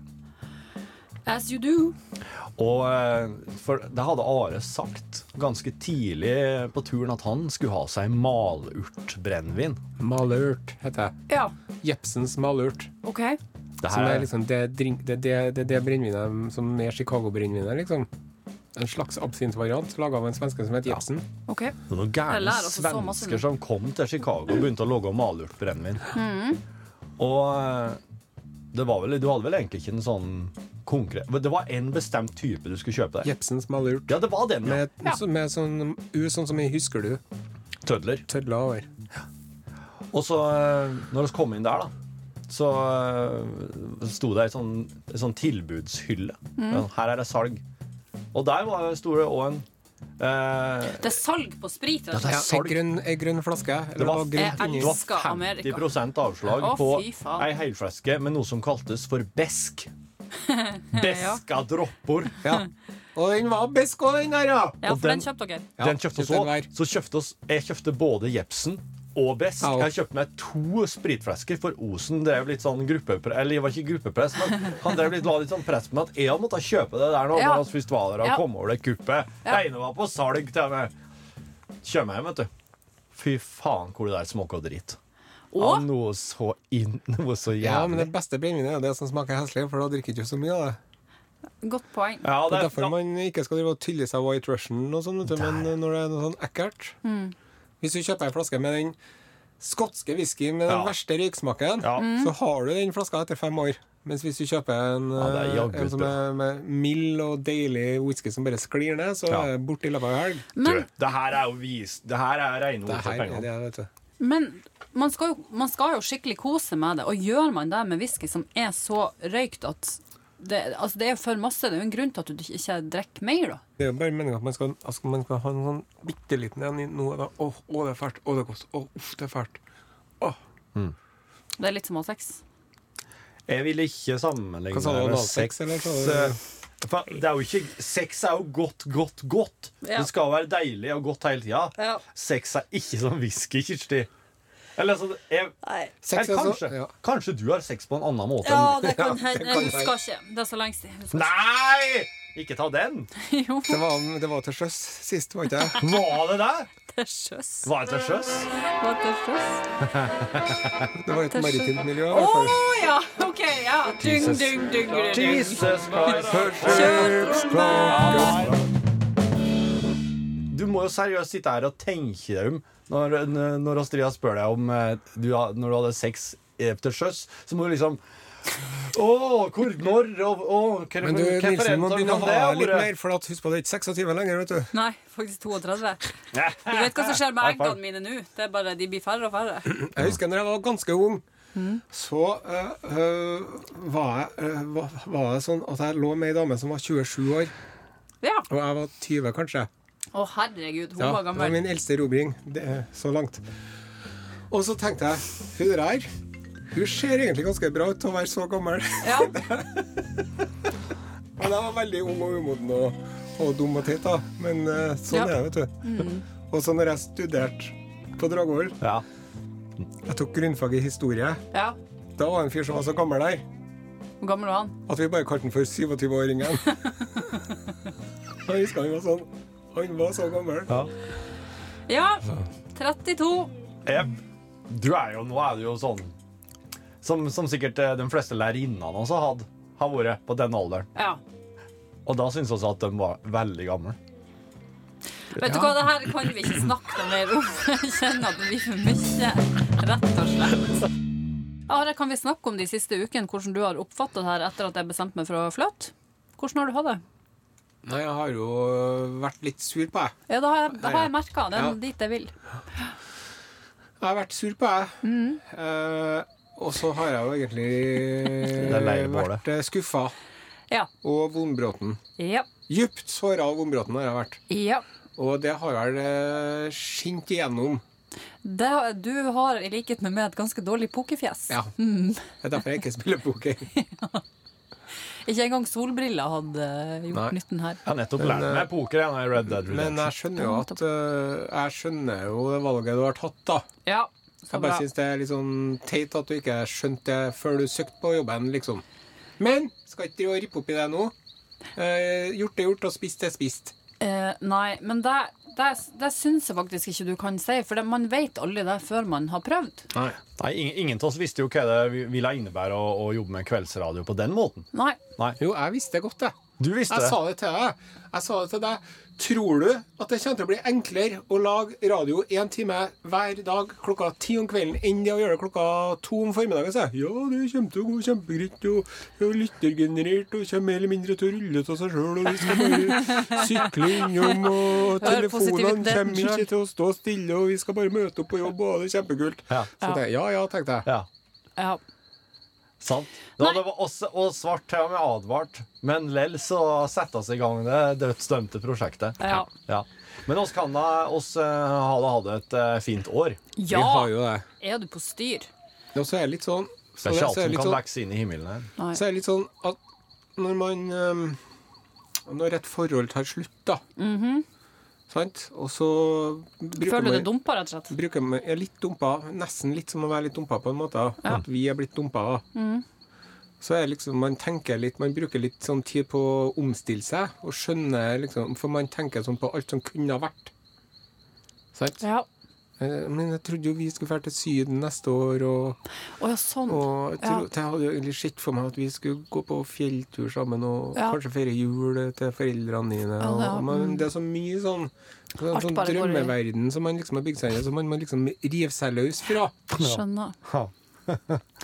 D: As you do.
E: Og eh, for det hadde Are sagt ganske tidlig på turen at han skulle ha seg malurtbrennevin.
B: Malurt heter jeg.
D: Ja.
B: Jepsens malurt.
D: OK.
E: Det
B: Som
E: her
B: er liksom det, drink, det, det, det, det brennevinet som er Chicago-brennevinet, liksom. En slags absintvariant laga av en svenske som heter Jepsen.
D: ok
E: Det var liksom noen
D: Jeg
E: gærne
D: lærer også så masse
E: svensker
D: nå.
E: som kom til Chicago og begynte å lage malurtbrennevin.
D: Mm.
E: Og eh, det var vel, du hadde vel egentlig ikke en sånn konkret men Det var en bestemt type du skulle kjøpe deg.
B: Jepsens malurt.
E: Ja, det var den. Ja.
B: Med, så- med sånn U, sånn som i Husker du?
E: Tødler.
B: Tødla over.
E: Og så, eh, når vi kom inn der, da, så eh, sto det ei sånn, ei sånn tilbudshylle.
D: Mm.
E: Ja, Her er det salg. Og der var, sto det òg en eh,
D: Det er salg på sprit. vet du.
E: det er
B: Ja, ei
E: salg.
B: grønn, ei grønn flaske. Eller
E: Det var,
B: noe
D: Jeg
B: grønt inni.
E: det var
D: elsker
E: 50
D: Amerika.
E: avslag
D: Å,
E: på
D: fy faen.
E: ei helflaske med noe som kaltes for besk. Beska dropper.
B: Ja. Og den var besk, og den der, ja!
D: Ja,
E: og
D: for den
E: den-
D: kjøpte dere.
B: Ja,
E: Den kjøpte oss
B: kjøpte
E: òg.
B: den hver.
E: Så kjøpte oss, jeg kjøpte både Jepsen og Besk.
B: Ja.
E: Jeg kjøpte meg to spritflasker, for Osen drev litt sånn gruppepress Eller det var ikke gruppepress, men han drev litt, la litt sånn press på meg at jeg måtte kjøpe det der nå.
D: Ja.
E: Når vi først var der og
D: Ja.
E: kom over det kuppet. Det ene var på salg til meg. Kjøper meg hjem, vet du. Fy faen, hvor det der smaker dritt. Ja,
D: Og
E: noe så inn, noe så jævlig.
B: Ja, men det beste brennevinet er jo det som smaker heslig, for da drikker du ikke så mye av det.
D: godt poeng.
E: Ja,
B: Det
E: det,
B: er derfor man ikke skal drive og tylle seg White Russian og sånn, vet du, men når det er noe sånn ekkelt
E: Mm.
B: Hvis du kjøper en flaske med den skotske whiskyen med den
E: Ja.
B: verste røyksmaken,
E: Ja. Mm.
B: så har du den flaska etter fem år. Mens hvis du kjøper en,
E: det er
B: eh,
E: jaggu
B: en som
E: bra.
B: er med mild og deilig whisky som bare sklir ned, så
E: Ja.
B: er det borte i løpet av en helg.
D: Men,
E: Du, det her er jo vis, det her er rene
B: Det
E: ord for
B: her er
E: pengene.
B: det, vet du.
D: men man, skal jo, man skal jo skikkelig kose med det. Og gjør man det med whisky som er så røykt at det, altså det er jo for masse. Det er jo en grunn til at du ikke drikker mer, da.
B: Det er jo bare meninga at man skal, altså man skal ha en sånn bitte liten en i nå. da. Åh, åh, det er fælt. Åh, det er godt. Åh, uff, det er fælt. Åh.
D: Det er litt som å ha sex.
E: Jeg vil ikke sammenligne
B: Hva sa du,
E: det med
B: analsex,
E: sex.
B: eller sa du-
E: eh, for Det er jo ikke, sex er jo godt, godt, godt.
D: Ja.
E: Det skal være deilig og godt hele tida.
D: Ja.
E: Sex er ikke som whisky, Kirsti. Eller altså jeg,
B: Sex
E: eller
B: er så-
E: kanskje,
B: ja.
E: kanskje du har sex på en annen måte
D: Ja,
E: enn
D: det kan
B: Ja,
D: hende.
B: det kan
D: Jeg husker ikke. Det er så lenge siden. Jeg husker
E: Nei! Ikke ta den!
D: ikke. Jo,
B: Det var, det var til sjøs sist, var ikke det?
E: Var det der?
D: det er sjøs.
E: Var det til sjøs?
D: Var det sjøs?
B: Det var et
D: Til sjøs.
B: maritimt miljø. i
D: Å
B: hvert fall.
D: ja! OK, ja. Dung,
E: Jesus.
D: dung, dung, dung, dung.
E: Jesus Christ. Du må jo seriøst sitte her og tenke deg om når, når Astrid spør deg om eh, du, ha- når du hadde sex eh, til sjøs, så må du liksom Å, hvor når og, og, hva-
B: Men du,
E: hva forventer
B: Nilsen må begynne å
E: om det,
B: ha litt
E: Ore?
B: mer, for at, husk på det er ikke 26 lenger, vet du.
D: Nei, faktisk 32. Du vet hva som skjer med eggene mine nå? Det er bare, De blir færre og færre.
B: Jeg husker når jeg var ganske ung, så eh, eh, var, jeg, eh, var, var det sånn at jeg lå med ei dame som var 27 år,
D: Ja.
B: og jeg var 20 kanskje.
D: Å, herregud, hun
B: Ja, det var
D: var gammel.
B: min eldste erobring det er så langt. Og så tenkte jeg, hun der, hun ser egentlig ganske bra ut til å være så gammel.
D: Ja.
B: Men jeg var veldig ung og umoden og, og dum og teit, da. Men eh, sånn
D: Ja.
B: er det, vet du. Og så når jeg studerte på Dragvoll
E: Ja.
B: Jeg tok grunnfag i historie.
D: ja.
B: Da var det en fyr som var så gammel der
D: Hvor gammel var han?
B: At vi bare kalte han for 27-åringen. Jeg husker han var sånn. Han var så gammel.
D: Ja, 32.
E: Jep. Du er jo, nå er du jo sånn Som, som sikkert eh, de fleste lærerinnene også hadde har vært på den alderen.
D: Ja.
E: Og da syns vi at de var veldig gamle.
D: Vet du hva, det her kan vi ikke snakke noe mer om. Jeg kjenner at det blir for mye, rett og slett. Are, kan vi snakke om de siste ukene, hvordan du har oppfatta det her etter at jeg bestemte meg for å flytte? Hvordan har du hatt det?
B: Nei, jeg har jo vært litt sur på jeg.
D: Ja, da har jeg, da har jeg merka den
B: Ja.
D: dit jeg vil.
B: Jeg har vært sur på jeg. Eh, og så har jeg jo egentlig
E: er lei bålet.
B: vært skuffa.
D: Ja.
B: Og vonbråten.
D: Ja.
B: Djupt såra av vonbråten har jeg vært.
D: ja.
B: Og det har vel eh, skint igjennom.
D: Det, du har i likhet med meg et ganske dårlig pokerfjes.
B: Ja. Det er derfor jeg ikke spiller poker.
D: Ikke engang solbriller hadde gjort
B: Nei.
D: nytten her.
E: Jeg har nettopp lært meg poker jeg, nå i Red Dead
B: eh, Men
E: Redemption.
B: jeg skjønner jo at eh, Jeg skjønner jo det valget du har tatt, da.
D: Ja, så
B: Jeg bare
D: bra.
B: syns det er litt sånn teit at du ikke skjønte det før du søkte på jobben, liksom. Men skal ikke drive og rippe opp i deg nå. Eh, gjort er gjort, og spist er spist.
D: Eh, nei, men det, det, det syns jeg faktisk ikke du kan si, for det, man vet aldri det før man har prøvd.
E: Nei, ingen, ingen av oss visste jo hva det vi- ville innebære å, å jobbe med kveldsradio på den måten.
D: Nei.
B: Jo, jeg visste godt det.
E: Du visste
B: Jeg
E: det.
B: sa det til deg. Jeg sa det til deg. Tror du at det kommer til å bli enklere å lage radio én time hver dag klokka ti om kvelden enn det å gjøre det klokka to om formiddagen? Så jeg, ja, det kommer til å gå kjempegreit. Og, og lyttergenerert og kommer mer eller mindre til å rulle av seg sjøl. Og vi skal bare sykle innom, og
D: Hør
B: telefonene
D: positiviteten
B: kommer
D: selv.
B: ikke til å stå stille, og vi skal bare møte opp på jobb, og det er kjempekult.
E: Ja.
B: Så tenkte jeg, ja ja, tenkte jeg.
E: Ja,
D: Ja.
E: sant. Da,
D: Nei.
E: det var oss og Svart til og med advart, men lell så setter oss i gang det dødsdømte prosjektet.
D: Ja.
E: Ja. Men oss kan da oss eh, ha det hatt et eh, fint år.
D: ja.
B: jo det.
D: Er du på styr?
B: Og så er jeg litt sånn
E: Det
B: så
E: er
B: det-
E: ikke
B: så
E: alt
B: er jeg
E: som
B: litt
E: kan
B: sånn-
E: vokse inn i himmelen her.
D: Nei.
B: Så er det litt sånn at når man ehm, Når et forhold tar slutt, da Sant? Og så bruker
D: Mhm. Føler du
B: man
D: deg dumpa, rett og slett?
B: Bruker man, er litt dumpa, nesten litt som å være litt dumpa, på en måte. da. At vi er blitt dumpa. da.
D: Mhm.
B: Så er det liksom, man tenker litt, man bruker litt sånn tid på å omstille seg, og skjønne liksom, For man tenker sånn på alt som kunne ha vært. Sant?
D: Ja.
B: Eh, Men jeg trodde jo vi skulle dra til Syden neste år, og
D: Å ja, sånn.
B: og jeg,
D: Ja.
B: tro, jeg hadde jo egentlig sett for meg at vi skulle gå på fjelltur sammen og
D: Ja.
B: kanskje feire jul til foreldrene dine.
D: Ja,
B: Og,
D: ja,
B: men det er så mye sånn, sånn,
D: Alt
B: sånn
D: bare går i-
B: drømmeverden som man liksom har bygd seg inn i, som man må liksom rive seg løs fra.
D: Skjønner.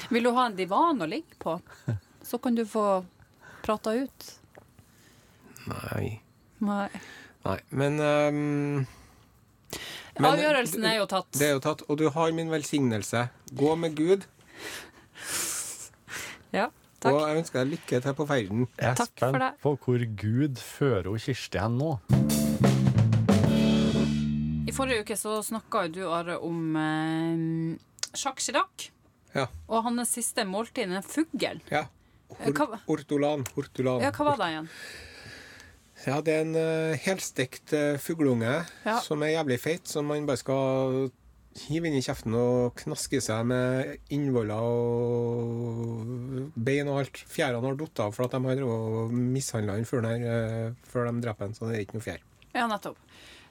D: Vil du ha en divan å ligge på? Så kan du få prata ut.
B: Nei.
D: Nei.
B: Men, ehm, men
D: Avgjørelsen er jo tatt.
B: Det er jo tatt. Og du har min velsignelse. Gå med Gud.
D: Ja,
B: Og
D: takk.
B: jeg ønsker deg lykke til på ferden.
E: Jeg er
D: Takk for
E: spent
D: det.
E: på hvor Gud fører hun Kirsti hen nå.
D: I forrige uke så snakka jo du, Are, om eh, Jacques Chirac
B: Ja.
D: og hans siste måltid, den fuglen.
B: ja.
D: Eh, hva-
B: Ortolan. Ortolan.
D: Ja, hva var det igjen?
B: Ja, det er en eh, helstekt eh, fugleunge
D: Ja.
B: som er jævlig feit, som man bare skal hive inn i kjeften og knaske seg med innvoller og bein og alt. Fjærene har datt av for at de har drevet og mishandla den fuglen her eh, før de dreper den, så det er ikke noe fjær.
D: Ja, nettopp.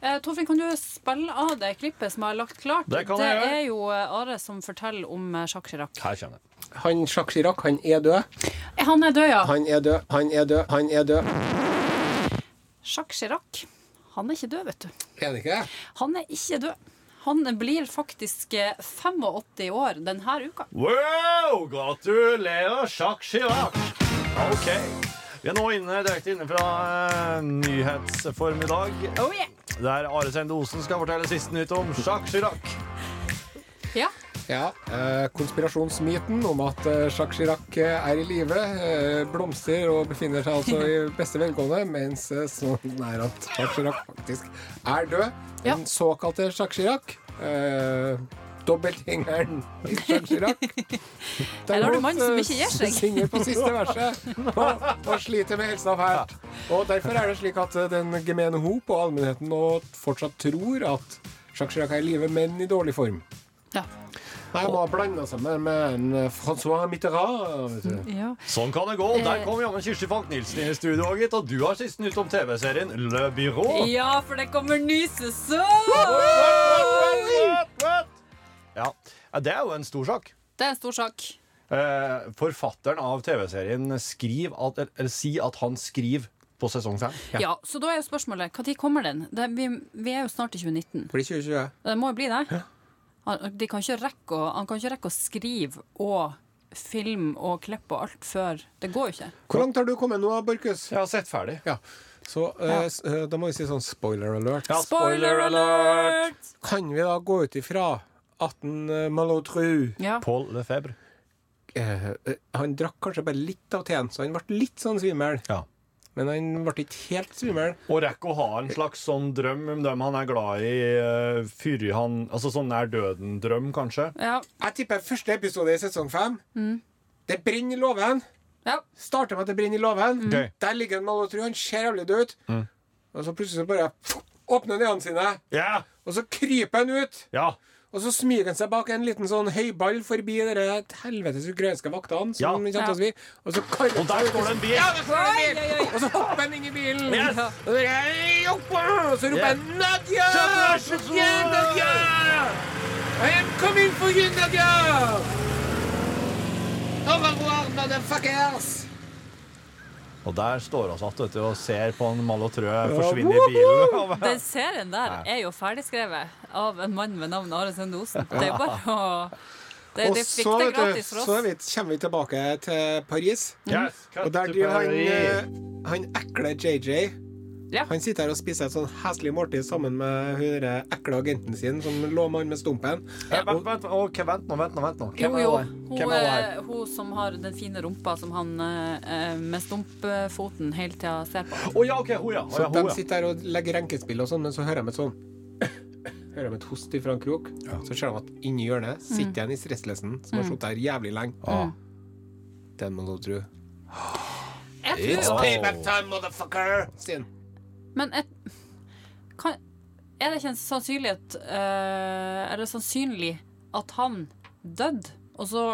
D: Eh, Torfinn, kan du spille av det klippet som jeg har lagt klart?
E: Det kan jeg gjøre.
D: er jo eh, Are som forteller om eh, Jacques Chirac.
E: Her kommer det.
B: Han Jacques Chirac, han er død.
D: Eh, Han er død, ja.
B: Han er død, han er død, han er død.
D: Jacques Chirac. Han er ikke død, vet du.
B: Er han ikke det?
D: Han er ikke død. Han blir faktisk eh, 85 år denne uka.
E: Wow! Gratulerer, Jacques Chirac! OK. Vi er nå inne direkte inne fra eh, nyhetsformiddag,
D: Oh, yeah.
E: der Are Sende Osen skal fortelle siste nytt om Jacques Chirac.
D: Ja,
B: Ja, eh, Konspirasjonsmyten om at eh, Jacques Chirac eh, er i live, eh, blomstrer og befinner seg altså i beste velgående, mens eh, sånn er at Jacques Chirac faktisk er død.
D: Ja.
B: Den såkalte Jacques Chirac. Eh, Dobbelthengeren i Jacques Chirac.
D: Her har du mannen som ikke gir seg.
B: Synger på siste verset og, og sliter med helsa fælt. Og derfor er det slik at eh, den gemene hop og allmennheten nå fortsatt tror at Jacques Chirac er i live, men i dårlig form.
D: Ja.
B: Nei, må ha blanda seg med, med en eh, Francois Mitterrand. Vet du.
F: Ja.
E: Sånn kan det gå. Der kom jammen Kirsti Falk Nilsen inn i studio, gitt. Og du har sist nytt om TV-serien Le Byrå.
D: Ja, for det kommer ny sesong!
E: Ja, Ja, det er jo en stor sak.
D: Det er en stor sak.
E: Eh, forfatteren av TV-serien skriver at, eller, eller, si at han skriver på sesong fem.
D: Ja, Så da er jo spørsmålet når kommer den? Det, vi, vi er jo snart i 2019.
B: Blir 2020.
D: Det må jo bli det. Han, de kan ikke rekke å, han kan ikke rekke å skrive og film og klippe og alt før Det går jo ikke.
B: Hvor langt har du kommet nå, Borchhus?
E: Jeg har sett ferdig.
B: Ja. Så eh, s- eh, da må vi si sånn spoiler alert.
E: Ja,
B: Kan vi da gå ut ifra at en, eh, Malotru
D: Ja.
E: Paul Lefebvre.
B: eh, eh, Han drakk kanskje bare litt av teen, så han ble litt sånn svimmel.
E: Ja.
B: Men han ble ikke helt svimmel.
E: Og rekke å ha en slags sånn drøm om dem han er glad i, eh, før han Altså sånn nær døden-drøm, kanskje.
D: Ja.
B: Jeg tipper første episode i sesong fem. Det brenner i låven.
D: Ja.
B: Starter med at det brenner i låven.
E: Ok.
B: Der ligger en malotru. Han ser jævlig død ut. Og så plutselig så bare åpner han øynene sine,
E: Ja!
B: og så kryper han ut.
E: Ja,
B: Og så smyger han seg bak en liten sånn høyball forbi de helvetes ukrainske vaktene. Som
E: Ja.
B: ikke sant oss vi. Og så karrer
E: Og der står det en bil!
B: Ja, det står en bil! Og så hopper han inn i bilen.
E: Yes.
B: Og så, «Hei, hoppa!» og så roper
E: Yeah.
B: han Nadia! Nadia! Nadia! I am coming for you, Nadia! Au revoir, motherfuckers!
E: Og der står vi satt vet du, og ser på en malotrø forsvinne i bilen.
D: Den serien der er jo ferdigskrevet av en mann ved navn Are Sende Osen. Det er jo bare å det,
B: Og
D: De fikk
B: så,
D: det
B: vet du,
D: gratis for
B: så
D: oss.
B: vidt, kommer vi tilbake til Paris.
E: Yes, cut
B: Og der
E: to
B: driver han
E: Paris.
B: eh, Han ekle JJ.
D: Ja.
B: Han sitter her og spiser et sånn heslig måltid sammen med hun der ekle agenten sin som lå med han med stumpen.
E: Eh, Vent, vent, ok, vent nå, vent nå. vent nå
D: Jo, jo. Hun,
E: Hvem er det her?
D: eh, hun som har den fine rumpa som han eh, eh, med stumpfoten hele tida ser på.
E: Å ja, OK, hun, ja. Å,
B: Så
E: ja, hun,
B: de
E: ja.
B: sitter her og legger renkespill og sånn, men så hører de et sånn Hører de et host ifra en krok. Så ser de at inni hjørnet
D: Mm.
B: sitter en i stresslessen som har sittet her jævlig lenge.
E: Ah.
D: Mm.
B: Den må du tro.
D: Jeg
B: It's
D: tror
B: payback time, motherfucker! Sier han.
D: Men et, kan, er det ikke en sannsynlighet eh, Er det sannsynlig at han døde, og så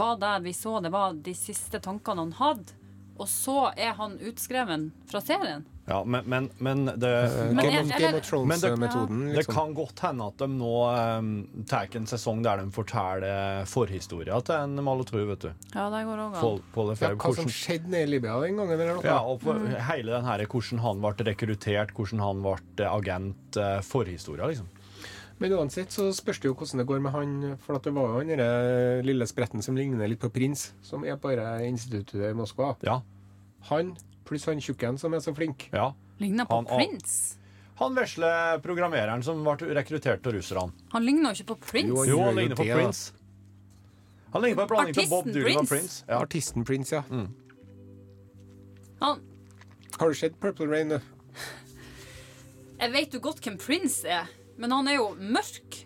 D: var der vi så det var de siste tankene han hadde, og så er han utskreven fra serien?
E: ja men, men, men, det,
D: Men
B: Game
D: er-
B: of, Game
D: er det-
B: of
E: Men det-
B: Thrones-metoden.
E: det
B: Eh, Liksom.
E: kan godt hende at de nå um, tar en sesong der de forteller forhistoria til en malotrø, vet du.
D: Ja, det går òg
E: Paul, Paul
B: Ja,
E: Lefebvre,
B: hva som
E: hvordan-
B: skjedde nede i Libya den gangen? Eller noe?
E: Ja, og for, hele den her, hvordan han ble rekruttert, hvordan han ble agent, eh, forhistoria, liksom.
B: Men uansett så spørs det jo hvordan det går med han. For at det var jo han derre lille spretten som ligner litt på prins, som er bare i instituttet i Moskva.
E: Ja,
B: Han pluss han tjukken som er så flink.
E: ja.
D: Ligner på
E: Han-
D: Prince.
E: Han vesle programmereren som ble rekruttert av russerne.
D: Han ligner jo ikke på
B: Jo,
D: Prince.
E: Jo, han
B: gjør
E: ligner på
B: det, da.
E: Prince. Han ligner på en blanding av
D: Artisten
E: Bob Dylan og
D: Prince.
E: Prince. Ja. Mm.
B: Artisten Prince, ja.
D: Han,
B: Har du sett Purple Rain? nå?
D: jeg vet jo godt hvem Prince er, men han er jo mørk.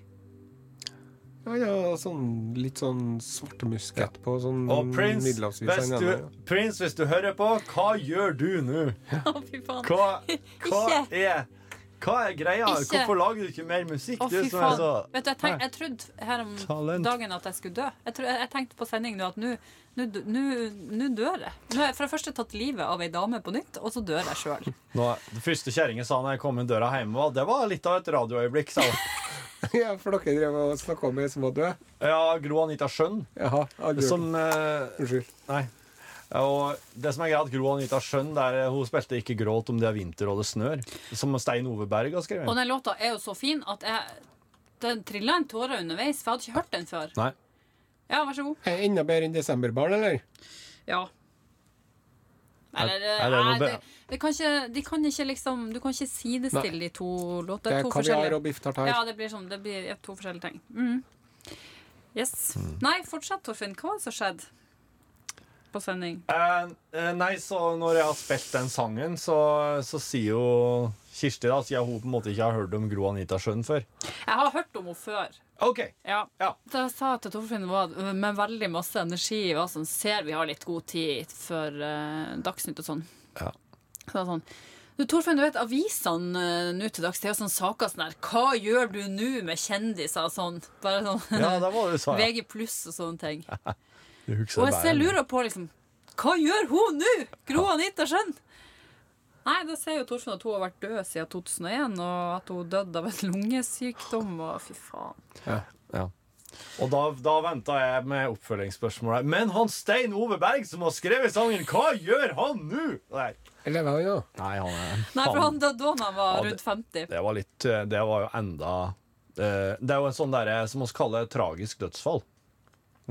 B: Ja, ja, sånn litt sånn svart musket på sånn
E: Og Prince
B: middelavsvis,
E: hvis,
B: han ene.
E: du, Prince, hvis du hører på, hva gjør du nå?
D: Å, fy faen.
E: Hva, hva
D: Ikke.
E: er hva er greia?
D: Ikke.
E: Hvorfor lager du ikke mer musikk?
D: Å,
E: du
D: fy
E: som er
D: faen.
E: så
D: Vet du, jeg, tenk, jeg trodde her om
E: Talent.
D: dagen at jeg skulle dø. Jeg, tro, jeg tenkte på sending nå at nå nå dø- nå- nå dør jeg. Nå har jeg for det første tatt livet av ei dame på nytt, og så dør jeg sjøl.
E: Nå, Det første kjerringa sa når jeg kom inn døra hjemme, var det var litt av et radioøyeblikk. Sa. hun.
B: Ja, for dere drev og snakka om ei som var død?
E: Ja, Gro Anita Skjønn,
B: Jaha. aldri hørt.
E: som eh,
B: Unnskyld.
E: Nei. Og det som er greit, Gro Anita Skjønn der eh, hun spilte 'Ikke gråt om det er vinter og det snør', som Stein Ove Berg har
D: Og
E: skrevet.
D: den låta er jo så fin at jeg den trilla en tåre underveis, for jeg hadde ikke hørt den før.
E: Nei.
D: Ja, vær så god.
B: Er det Enda bedre enn Desemberbarn, eller?
D: Ja. Eller, eh,
E: er det noe
D: nei, det,
E: be-
D: det kan ikke, de kan ikke liksom Du kan ikke sidestille de to
B: Det
D: låtene.
B: er
D: to
B: kaviar
D: forskjellige.
B: og biff tartar.
D: Ja, det blir, sånn, det blir to forskjellige ting. Mm. Yes. Nei, fortsett, Torfinn. Hva var det som skjedde på sending?
E: Eh, eh, nei, så når jeg har spilt den sangen, så, så sier jo Kirsti, da, sier hun på en måte ikke har hørt om Gro Anita Skjønn før.
D: Jeg har hørt om henne før.
E: OK.
D: Ja.
E: Ja.
D: Det jeg sa til Torfinn, var at øh, med veldig masse energi var sånn Ser vi har litt god tid før eh, øh, Dagsnytt og sånn.
E: Ja.
D: Så det var sånn Du, Torfinn, du vet avisene eh, nå til dags, det er jo sånne saker sånn her Hva gjør du nå med kjendiser og sånn? Bare sånn
E: Ja, det var det du sa. Ja.
D: VG pluss og sånne ting.
E: Du husker
D: Og jeg
E: det
D: ser
E: bare.
D: lurer på liksom Hva gjør hun nå? Gro Anita Skjønn? Nei, da ser jo Torfinn at hun har vært død siden 2001, og at hun døde av en lungesykdom, og fy faen.
E: Og da, da venta jeg med oppfølgingsspørsmålet. Men han Stein Ove Berg som har skrevet sangen, hva gjør han nå?! Nei,
B: Lever han ennå?
E: Nei han er
D: Nei, for han døde da han var
E: Ja, det-
D: rundt 50.
E: Det var litt eh, Det var jo enda eh, Det er jo en sånn derre som vi kaller tragisk dødsfall.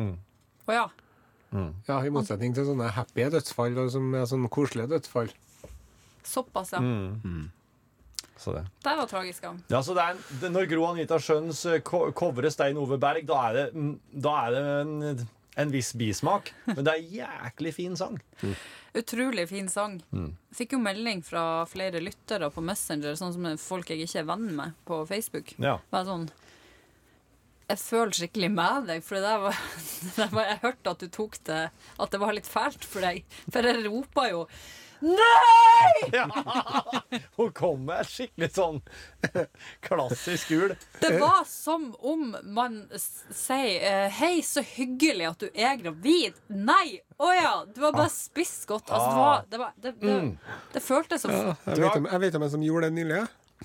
D: Å ja.
B: Ja, i motsetning til sånne happy dødsfall og som er sånn koselige dødsfall.
D: Såpass, ja.
E: Så det.
D: Det var tragisk, ja.
E: Ja, så det er, en- det, Når Gro Anita Schjøns eh, ko- covrer Stein Ove Berg, da er det, mm, da er det en, en viss bismak. Men det er en jæklig fin sang.
D: Utrolig fin sang. Fikk jo melding fra flere lyttere på Messenger, sånn som folk jeg ikke er venn med på Facebook.
E: Ja.
D: Bare sånn Jeg føler skikkelig med deg, for det der var, det der var Jeg hørte at du tok det At det var litt fælt for deg. For jeg ropa jo Nei!
E: ja. Hun kom med et skikkelig sånn klassisk ul.
D: Det var som om man s- sier eh, Hei, så hyggelig at du er gravid. Nei! Å ja! Du har bare spist godt. Altså, det var Det, var, det, det, det føltes som
B: Jeg vet, om, jeg vet om en som gjorde det nylig.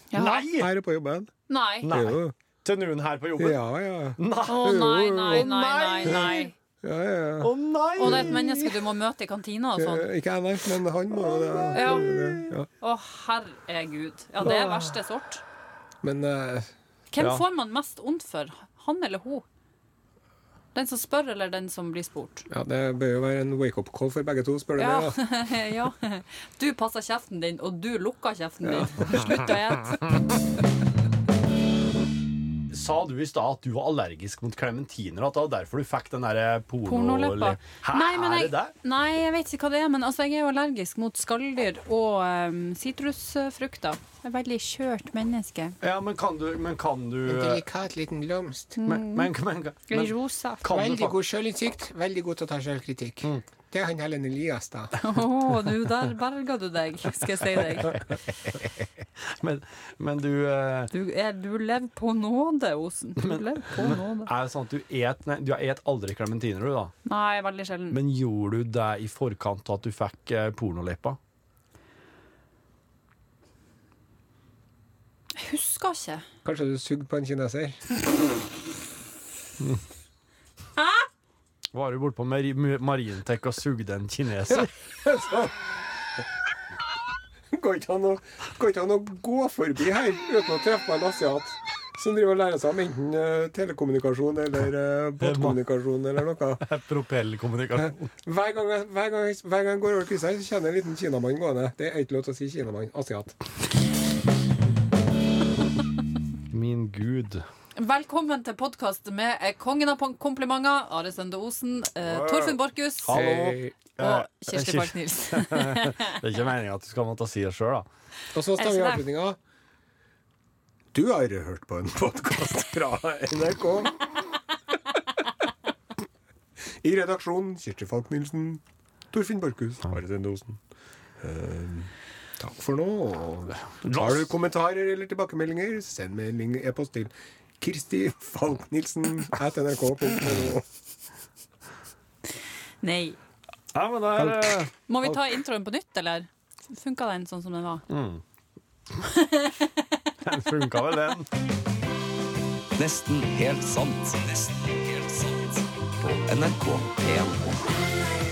B: jeg.
E: Nei!
B: Her på jobben.
D: Nei.
E: Nei.
B: Jo.
E: Til noen her på jobben.
B: Ja, ja.
E: Nei!
D: Å nei, nei, nei, nei, nei.
B: ja, ja.
E: Å nei!
D: Og det er et menneske du må møte i kantina og sånn.
B: Eh, Ikke jeg, nei, men han må jo det.
D: Ja.
B: Ja.
D: Å herregud. Ja, det er verste sort.
B: Men eh,
D: Hvem
E: Ja.
D: får man mest ondt for? Han eller hun? Den som spør, eller den som blir spurt?
B: ja, det bør jo være en wake-up-call for begge to, spør du
D: Ja.
B: meg. da.
D: ja. Du passer kjeften din, og du lukker kjeften din. Slutt å ete.
E: Sa du i stad at du var allergisk mot klementiner, og at det var derfor du fikk den derre
D: Pornoleppa.
E: pornoleppa? Hæ,
D: Nei, men
E: er
D: jeg,
E: det det?
D: nei, jeg vet ikke hva det er, men altså, jeg er jo allergisk mot skalldyr og em, sitrusfrukter. Jeg er et veldig kjørt menneske.
E: Ja, men kan du Men kan du
B: En
E: Men,
B: delikat liten blomst.
E: men, men, men,
D: En rosa.
E: kan du
B: Veldig
E: faktisk
B: god sjølinnsikt, veldig god til å ta sjølkritikk. Det er han Helen Elias, da.
D: Å, du, der berga du deg, skal jeg si deg.
E: men, men du eh,
D: Du, er, du lever på nåde, Osen. Du lever på nåde.
E: Er det sånn at du et Nei, du et aldri klementiner, du,
D: Mm.
E: da.
D: Nei, veldig sjelden.
E: Men gjorde du det i forkant av at du fikk eh, pornoleppa?
D: Jeg husker ikke.
B: Kanskje du sugde på en kineser?
E: Var du bortpå Mari- Mu- Marientek og sugde en kineser?
B: Går ikke an å- går ikke an å gå forbi her uten å treffe på en asiat som driver og lærer seg om enten eh, telekommunikasjon eller eh, båtkommunikasjon eller noe.
E: Propellkommunikasjon.
B: Hver gang, jeg- hver gang, jeg- hver gang jeg går over krysset her, så kjenner jeg en liten kinamann gående. Det er ikke lov til å si kinamann. Asiat.
E: Min gud.
D: Velkommen til podkast med eh, kongen av pon- komplimenter, Are Sende Osen, eh, Torfinn Borchhus og
B: Hei.
D: Kirsti
E: Kirsti-
D: Park Nilsen.
E: Det er ikke meninga at du skal måtte si det sjøl, da.
B: Og så
D: Er det
B: stemmer
D: sånn?
B: avslutninga. Du har hørt på en podkast fra NRK. I redaksjonen Kirsti Falk Nilsen, Torfinn Borchhus, Are Sende Osen. Eh, Takk for nå. og Har du kommentarer eller tilbakemeldinger, send melding e-post til Kirsti Falk Nilsen at nrk.no.
D: Nei.
E: Nei, men det er eh,
D: Må vi ta introen på nytt, eller? Funka den sånn som den var?
E: Den funka eh, vel, den.
G: Nesten helt sant. Nesten helt sant. På NRK P1.